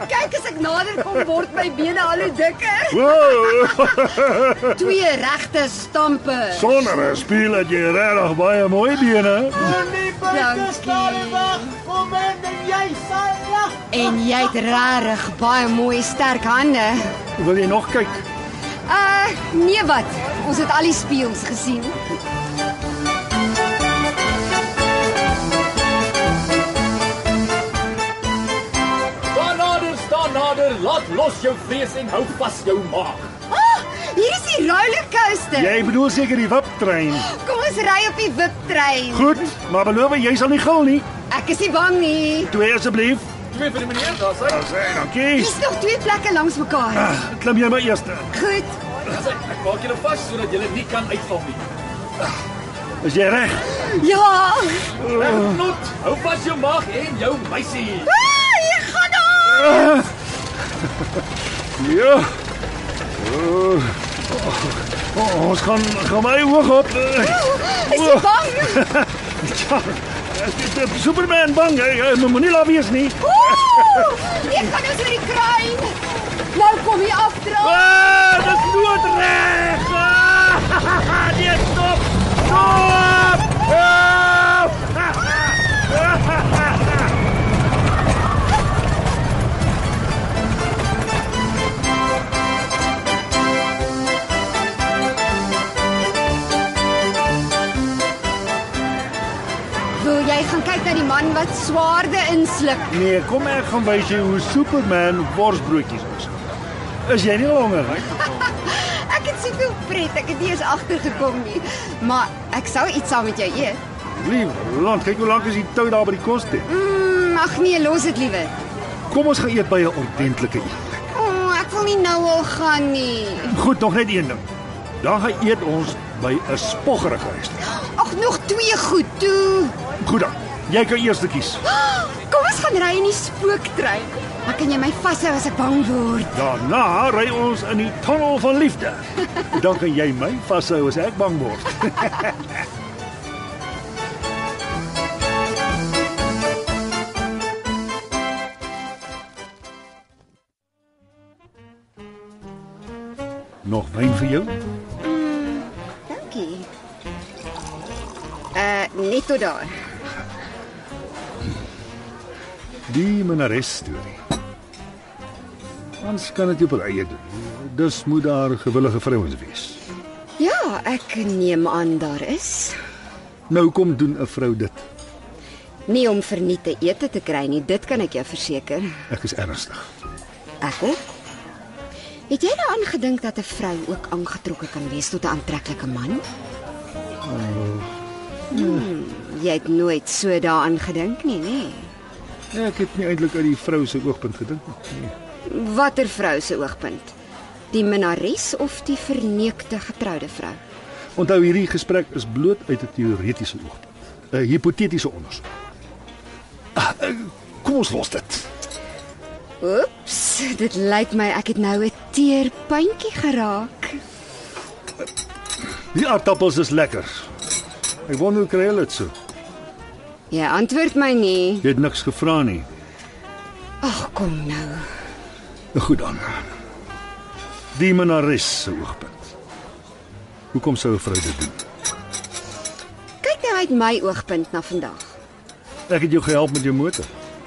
Speaker 7: Kyk as ek nader kom word my bene al hoe dikker.
Speaker 2: Wow,
Speaker 7: Twee regte stampe.
Speaker 2: sonder 'n speel het jy regtig baie mooi bene.
Speaker 10: Moenie buite staan en
Speaker 7: Dankie.
Speaker 10: wag. Kom in en jy sal lag.
Speaker 7: En jy het regtig baie mooi sterk hande.
Speaker 2: Wil jy nog kyk?
Speaker 7: Uh, nee wat? Ons het al die speels gesien.
Speaker 6: Staan nader, staan nader, laat los jou vrees en hou vas jou maag.
Speaker 7: Ah, hier is die rollercoaster.
Speaker 2: Jy bedoel seker die wiptrein.
Speaker 7: Kom ons ry op die wiptrein.
Speaker 2: Goed, maar beloof jy sal nie gil nie.
Speaker 7: Ek is nie bang nie.
Speaker 2: Twee asseblief.
Speaker 6: Twee vir die meneer, daar's hy.
Speaker 2: Dis reg, dankie.
Speaker 7: Hier's nog twee plekke langs mekaar.
Speaker 2: Klim jy maar eers.
Speaker 7: Goed.
Speaker 6: Daar's hy. Ek maak julle vas sodat julle nie kan uitval nie.
Speaker 2: Is jy reg?
Speaker 7: Ja.
Speaker 6: Reg knot, hou vas jou maag en jou meisie.
Speaker 7: Ah, jy gaan daar.
Speaker 2: Ja.
Speaker 11: Eh,
Speaker 2: Oh,
Speaker 11: Eh,
Speaker 2: oh, ons gaan gaan my hoog op.
Speaker 7: Is jy bang?
Speaker 2: Ja,
Speaker 11: eh, Superman bang, jy jy moenie laat wees nie.
Speaker 7: Ooh! Ek gaan ons oor die kruin. Nou kom hy afdraai.
Speaker 11: Ah, dis noodreg. Ah, nee, stop. Stop. Help!
Speaker 7: Wil jy gaan kyk na die man wat swaarde insluk?
Speaker 11: Nee, kom ek gaan wys jou hoe Superman worsbroodjies is. Is jy nie honger nie?
Speaker 7: Ek het soveel pret, ek het nie eens agtergekom nie. Maar ek sou iets saam met jou eet.
Speaker 11: Lief, Roland, kyk hoe lank is die tou daar by die kos te.
Speaker 7: Mm, ag nee, los dit liewe.
Speaker 11: Kom ons gaan eet by 'n ordentlike een.
Speaker 7: O, oh, ek wil nie nou al gaan nie.
Speaker 11: Goed, nog net een ding. Dan gaan eet ons by 'n spoggerige restaurant.
Speaker 7: Ag nog twee goed toe.
Speaker 11: Goed dan. Jy kan eers kies.
Speaker 7: Kom ons gaan ry in die spooktrein. Maar kan jy my vashou as ek bang word?
Speaker 11: Daarna ry ons in die tunnel van liefde. Dan kan jy my vashou as ek bang word. Nog wyn vir jou?
Speaker 7: Dankie. Uh, net tot daar.
Speaker 2: Die minares storie. Ons kan dit op ons eie doen. Dus moet daar gewillige vrouens wees.
Speaker 7: Ja, ek neem aan daar is.
Speaker 2: Nou kom doen 'n vrou dit.
Speaker 7: Nie om verniet te ete te kry nie, dit kan ek jou verseker.
Speaker 2: Ek is ernstig.
Speaker 7: Ek ook. Het jy daaraan gedink dat 'n vrou ook aangetrokke kan wees tot 'n aantreklike man? Hmm, jy het nooit so daaraan gedink nie, nê?
Speaker 2: Ja, Ek het nie eintlik uit die vrou se oogpunt gedink nie.
Speaker 7: Watter vrou se oogpunt? Die minnares of die verneekte getroude vrou?
Speaker 2: Onthou hierdie gesprek is bloot uit 'n teoretiese oogpunt, 'n hipotetiese ondersoek. Ah, eh, Kom ons los dit.
Speaker 7: Oeps, dit lyk my ek het nou 'n teer puntjie geraak.
Speaker 2: Die aardappels is lekker.
Speaker 11: Ek wonder hoe kry hulle dit so?
Speaker 7: Jy antwoord my nie.
Speaker 11: Jy het niks gevra nie.
Speaker 7: Ag, kom nou.
Speaker 2: Goed dan.
Speaker 11: Die minares se oog.
Speaker 2: Oogpunt. Hoekom sou 'n vrou dit doen?
Speaker 7: Kyk nou uit my oogpunt na vandag.
Speaker 11: Ek het jou gehelp met jou motor.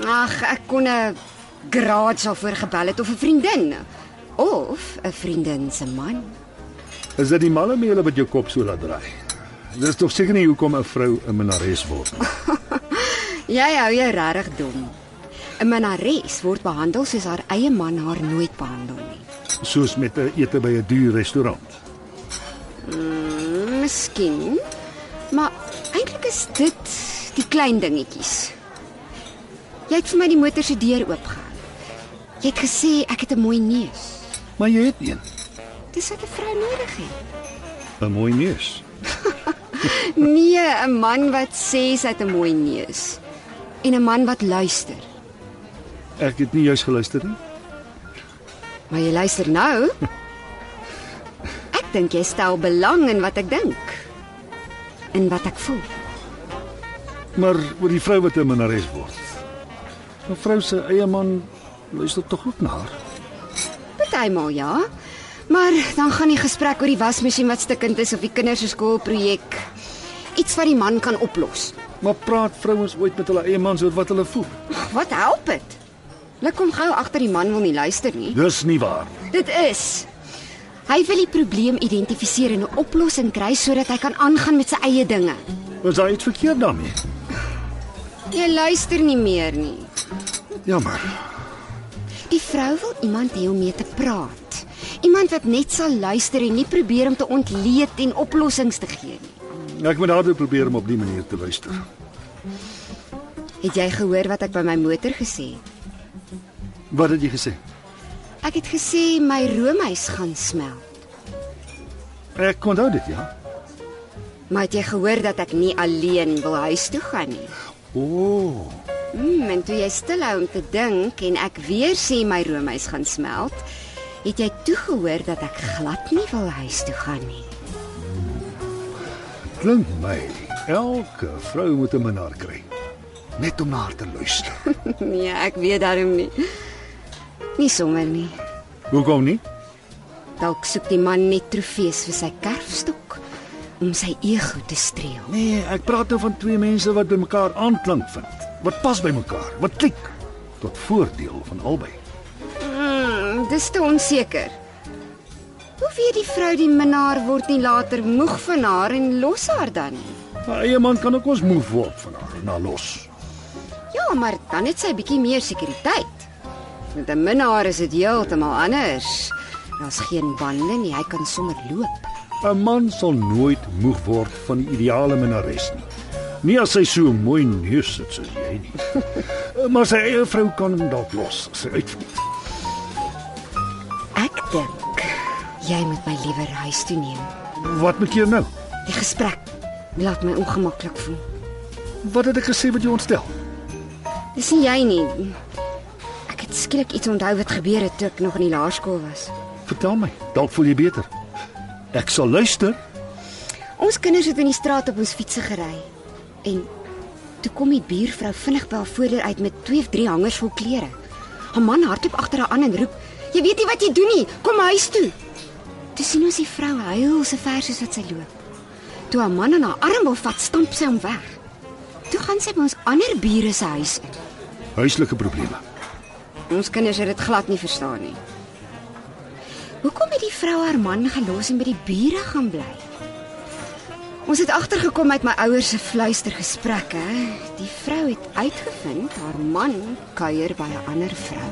Speaker 7: Ag, ek kon 'n garage daarvoor gebel het of 'n vriendin of 'n vriendin se man.
Speaker 2: Is dit die malle meele wat jou kop so laat draai? Dis tog seker nie hoekom 'n vrou 'n minares word nie.
Speaker 7: Jy hou jou regtig dom. 'n Minares word behandel soos haar eie man haar nooit behandel nie.
Speaker 2: Soos met 'n ete by 'n duur restaurant.
Speaker 7: Mm, Miskien, maar eintlik is dit die klein dingetjies. Jy het vir my die motor se deur oopgehou. Jy het gesê ek het 'n mooi neus.
Speaker 2: Maar jy het een,
Speaker 7: Dis wat 'n vrou nodig het.
Speaker 2: 'n mooi neus.
Speaker 7: Nee, 'n man wat sê sy het 'n mooi neus en 'n man wat luister.
Speaker 2: Ek het nie juis geluister nie.
Speaker 7: Maar jy luister nou? Ek dink jy stel belang in wat ek dink en wat ek voel.
Speaker 2: Maar oor die vrou wat 'n minares word. 'n Vrou se eie man luister tog ook na haar.
Speaker 7: Partymal ja, maar dan gaan die gesprek oor die wasmasjien wat stikkend is of die kinders se skoolprojek. Iets wat die man kan oplos.
Speaker 2: Maar praat vrouens ooit met hulle eie mans oor wat hulle voel?
Speaker 7: Wat help dit? Hulle kom gou agter die man wil nie luister nie.
Speaker 2: Dis nie waar.
Speaker 7: Dit is. Hy wil die probleem identifiseer en 'n oplossing kry sodat hy kan aangaan met sy eie dinge.
Speaker 2: Was daar iets verkeerd daarmee?
Speaker 7: Jy luister nie meer nie.
Speaker 2: Jammer.
Speaker 7: Die vrou wil iemand hê om mee te praat. Iemand wat net sal luister en nie probeer om te ontleed en oplossings te gee nie.
Speaker 2: Ek moet daartoe probeer om op die manier te luister.
Speaker 7: Het jy gehoor wat ek by my motor gesê het?
Speaker 2: Wat het jy gesê?
Speaker 7: Ek het gesê my roomys gaan smelt.
Speaker 2: Ek onthou dit, ja.
Speaker 7: Maar het jy gehoor dat ek nie alleen wil huis toe gaan nie?
Speaker 2: O, oh,
Speaker 7: Mm, en toe jy stilhou om te dink en ek weer sê my roomys gaan smelt, het jy toegehoor dat ek glad nie wil huis toe gaan nie. (laughs)
Speaker 2: klink my elke vrou moet 'n minnaar kry. net om na haar te luister.
Speaker 7: Nee, ek weet daarom nie. Nie sommer nie.
Speaker 2: (laughs) Hoekom nie?
Speaker 7: Dalk soek die man net trofees vir sy kerfstok om sy ego te streel.
Speaker 2: Nee, ek praat nou van twee mense wat by mekaar aanklank vind, wat pas by mekaar, wat klik tot voordeel van albei.
Speaker 7: Mm, dis te onseker. Hoe weet die vrou die minnaar word nie later moeg van haar en los haar dan nie?
Speaker 2: Haar eie man kan ook ons moef word van haar na los.
Speaker 7: Ja, maar dan het sy bietjie meer sekuriteit. Met 'n minnaar is dit heeltemal anders. Daar's geen bande nie, hy kan sommer loop.
Speaker 2: 'n Man sal nooit moeg word van die ideale minnares nie. Nie as sy so mooi neus het soos jy nie. (laughs) Maar sy eie vrou kan hom dalk los, as sy uitvind.
Speaker 7: Ek dink jy moet my liewer huis toe neem.
Speaker 2: Wat moet jy nou?
Speaker 7: Die gesprek laat my ongemaklik voel.
Speaker 2: Wat het ek gesê wat jou ontstel?
Speaker 7: Dis nie jy nie. Ek het skielik iets onthou wat gebeur het toe ek nog in die laerskool was.
Speaker 2: Vertel my, dalk voel jy beter. Ek sal luister.
Speaker 7: Ons kinders het in die straat op ons fietsse gery. En toe kom die buurvrou vinnig by haar voordeur uit met twee of drie hangers vol klere. Haar man hardloop agter haar aan en roep: "Jy weet nie wat jy doen nie. Kom huis toe." Toe sien ons die vrou huil so ver soos wat sy loop. Toe haar man aan haar arm wil vat, stamp sy hom weg. Toe gaan sy by ons ander bure se huis in.
Speaker 2: Huislike probleme.
Speaker 7: Ons kinders het dit glad nie verstaan nie. Hoekom het die vrou haar man gelos en by die bure gaan bly? Ons het agtergekom uit my ouers se fluistergesprekke. Die vrou het uitgevind haar man kuier by 'n ander vrou.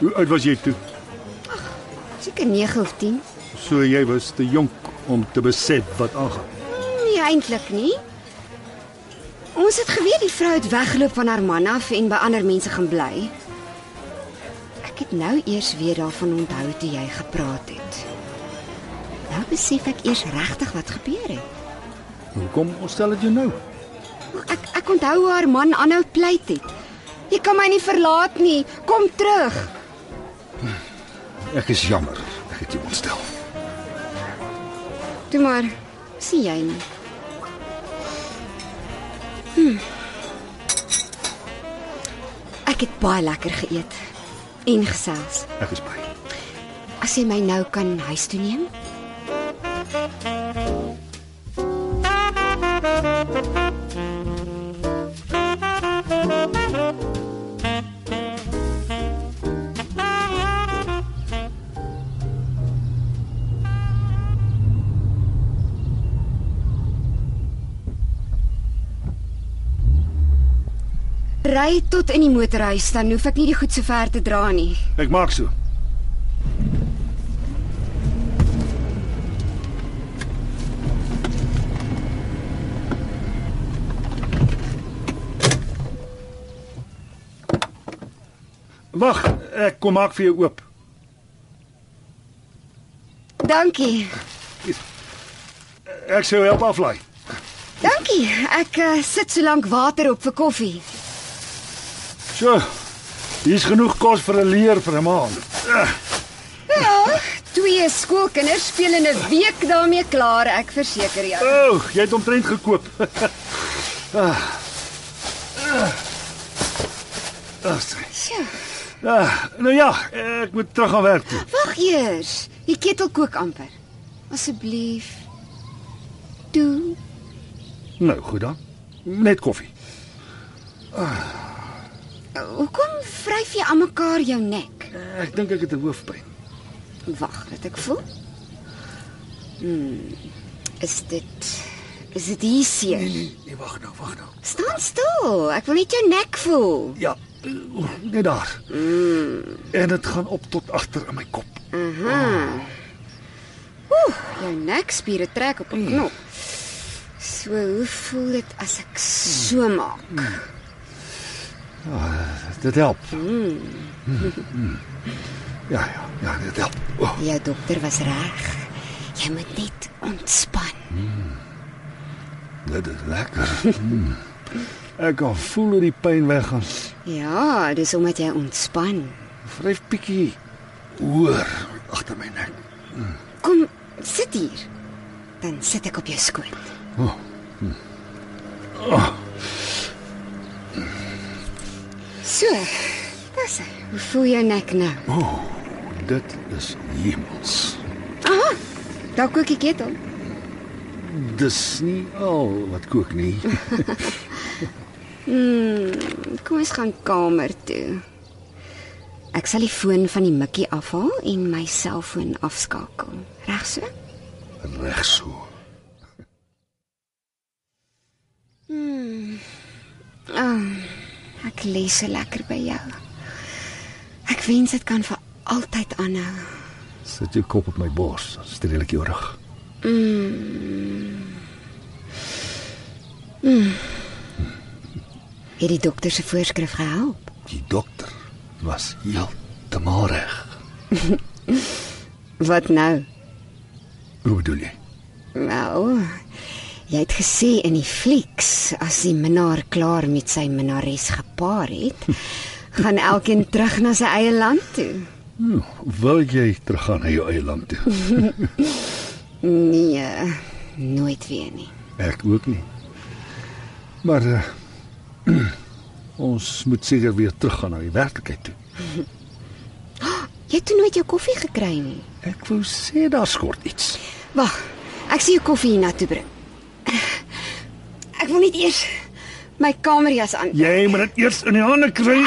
Speaker 2: Hoe oud was jy toe?
Speaker 7: Seker 9 of 10.
Speaker 2: So jy was te jonk om te besef wat aangaan.
Speaker 7: Nee, eintlik nie. Ons het geweet die vrou het weggeloop van haar man af en by ander mense gaan bly. Ek het nou eers weer daarvan onthou toe jy gepraat het. Nou besef ek eers regtig wat gebeur het.
Speaker 2: Hoekom stel dit jou nou?
Speaker 7: Ek ek onthou hoe haar man aanhou pleit het. Jy kan my nie verlaat nie. Kom terug.
Speaker 2: Ek is jammer, ek het jou ontstel.
Speaker 7: Toe maar. Sien jy nie? Hmm. Hm. Ek het baie lekker geëet en gesels.
Speaker 2: Ek is bly.
Speaker 7: As jy my nou kan huis toe neem? Ry tot in die motorhuis dan hoef ek nie die goed so ver te dra nie.
Speaker 2: Ek maak so. Wag, ek kom maak vir jou oop.
Speaker 7: Dankie.
Speaker 2: Ek sou help aflaai.
Speaker 7: Dankie. Ek uh, sit so lank water op vir koffie.
Speaker 2: So. Hier's genoeg kos vir 'n leer vir 'n maand.
Speaker 7: Ja, twee skoolkinders speel in 'n week daarmee klaar, ek verseker ja. jou.
Speaker 2: O, oh, jy het omtrent gekoop. (laughs) Ah.
Speaker 7: Sjoe,
Speaker 2: Ah, nou ja, ek moet terug aan werk toe.
Speaker 7: Wag eers. Die ketel kook amper. Asseblief. Toe.
Speaker 2: Nou, goed dan. Net koffie.
Speaker 7: Hoekom vryf jy aan mekaar jou nek?
Speaker 2: Eh, Ek dink ek het 'n hoofpyn.
Speaker 7: Wag, laat ek voel. Hmm. Is dit is dit hier seer?
Speaker 2: Nee, wag nou, wag nou.
Speaker 7: Staan stil. Ek wil net jou nek voel.
Speaker 2: Ja, oeh, net daar. Mm. En dit gaan op tot agter in my kop.
Speaker 7: Oeh, jou nekspiere trek op 'n knop. So, hoe voel dit as ek so maak?
Speaker 2: Dit help. Mm. Ja, ja, ja, dit help. Oh,
Speaker 7: Jou dokter was reg. Jy moet net ontspan.
Speaker 2: dit is lekker. (laughs) Mm. Ek kan voel hoe die pyn weggaan.
Speaker 7: Ja, dis omdat jy ontspan.
Speaker 2: Vryf bietjie hoor agter my nek.
Speaker 7: Kom, sit hier. Dan sit ek op jou skoot.
Speaker 2: Oh.
Speaker 7: So, dis hy. Hoe voel jou nek nou?
Speaker 2: Dit is hemels.
Speaker 7: Daar kook die ketel.
Speaker 2: Dis nie al wat kook nie.
Speaker 7: Kom ons gaan kamer toe. Ek sal die foon van die mikkie afhaal en my selfoon afskakel. Reg so?
Speaker 2: Reg so.
Speaker 7: Ek lê so lekker by jou. Ek wens dit kan vir altyd aanhou.
Speaker 2: Sit jou kop op my bors, streelik jou rug.
Speaker 7: Mm. Het die dokter se voorskrif gehelp?
Speaker 2: Die dokter was heeltemal reg.
Speaker 7: Wat nou?
Speaker 2: Hoe bedoel jy?
Speaker 7: Nou, jy het gesê in die flieks as die minnaar klaar met sy minnares gepaar het, gaan elkeen terug na sy eie land toe.
Speaker 2: Wil jy teruggaan na jou eie land toe?
Speaker 7: Nee, nooit weer nie.
Speaker 2: Ek ook nie. Maar uh, (clears throat) ons moet seker weer teruggaan na die werklikheid toe.
Speaker 7: Jy het toe nooit jou koffie gekry nie.
Speaker 2: Ek wou sê daar skort iets.
Speaker 7: Wag, ek sien jou koffie hiernatoe bring. Ek wil net eers my kamerjas aan.
Speaker 2: Ja.
Speaker 11: Jy moet dit eers in die hande kry.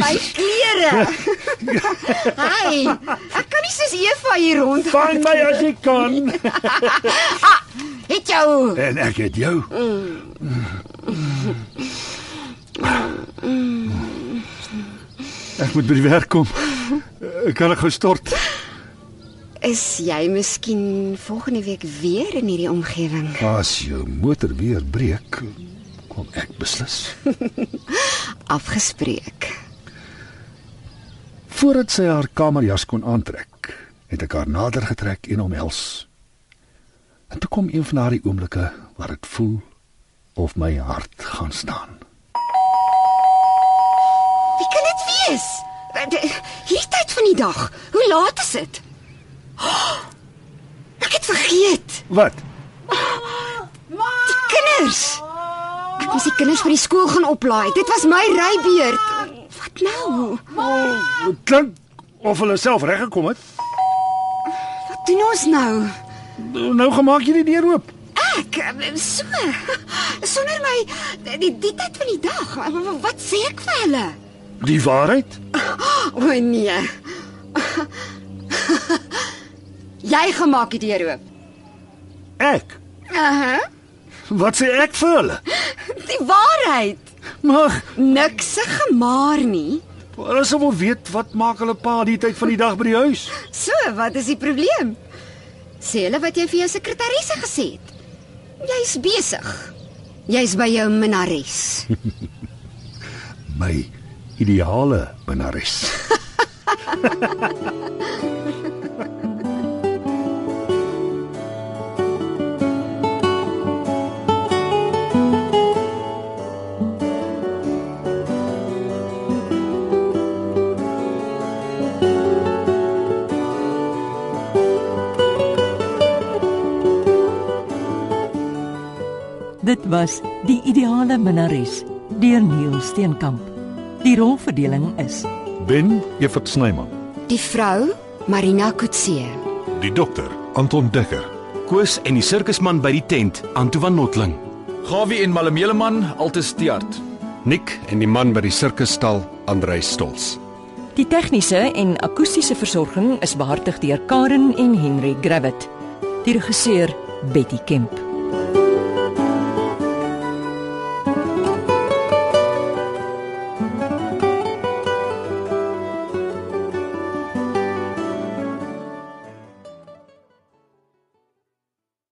Speaker 7: My klere. Hi. Ek kan nie soos Eva hier rond.
Speaker 11: Vang my as jy kan.
Speaker 7: Het jou.
Speaker 2: En ek het jou. Ek moet by die werk kom. Ek kan ek gestort.
Speaker 7: Is jy miskien volgende week weer in hierdie omgewing?
Speaker 2: As jou motor weer breek, kom ek beslis.
Speaker 7: Afgespreek.
Speaker 2: Voordat sy haar kamerjas kon aantrek, het ek haar nader getrek en omhels. En toe kom een van haar die oomblikke waar dit voel of my hart gaan staan.
Speaker 7: Wie kan dit wees? D- Hierdie tyd van die dag. Hoe laat is dit? (gasps) Ek het vergeet.
Speaker 2: Wat?
Speaker 7: Die kinders. Ek moes die kinders vir die skool gaan oplaai. Dit was my rybeurt. Wat nou?
Speaker 11: Dit klink of hulle self reg gekom het.
Speaker 7: Wat doen ons nou?
Speaker 11: Nou gemaak jy die deur oop.
Speaker 7: Ek eh, so (laughs) sonder my die, die tyd van die dag. Wat sê ek vir hulle?
Speaker 11: Die waarheid?
Speaker 7: O oh, nee. Jy gemaak die deur oop.
Speaker 11: Ek.
Speaker 7: Uh-huh.
Speaker 11: Wat sê ek vir hulle?
Speaker 7: Die waarheid.
Speaker 11: Mag
Speaker 7: Niks se gemaar nie.
Speaker 11: hulle sou wel weet wat maak hulle pa die tyd van die dag by die huis?
Speaker 7: So, wat is die probleem? Sê hulle wat jy vir jou sekretarisse gesê het. Jy's besig. Jy's by jou minares.
Speaker 2: My ideale minnares.
Speaker 1: Dit was Die ideale minnares deur Neil Steenkamp. Die rolverdeling is
Speaker 3: Ben Evert Snyman,
Speaker 7: Die vrou, Marina Kutse.
Speaker 3: die dokter Anton Dekker,
Speaker 4: Koos en die sirkusman by die tent, Antoine van Notling.
Speaker 6: Gawie en Malemeleman altes teart.
Speaker 5: Nick en die man by die sirkusstal, Andrei Stols.
Speaker 12: Die tegniese en akoestiese versorging is behartig deur Karen en Henry Gravett. Die regisseur Betty Kemp.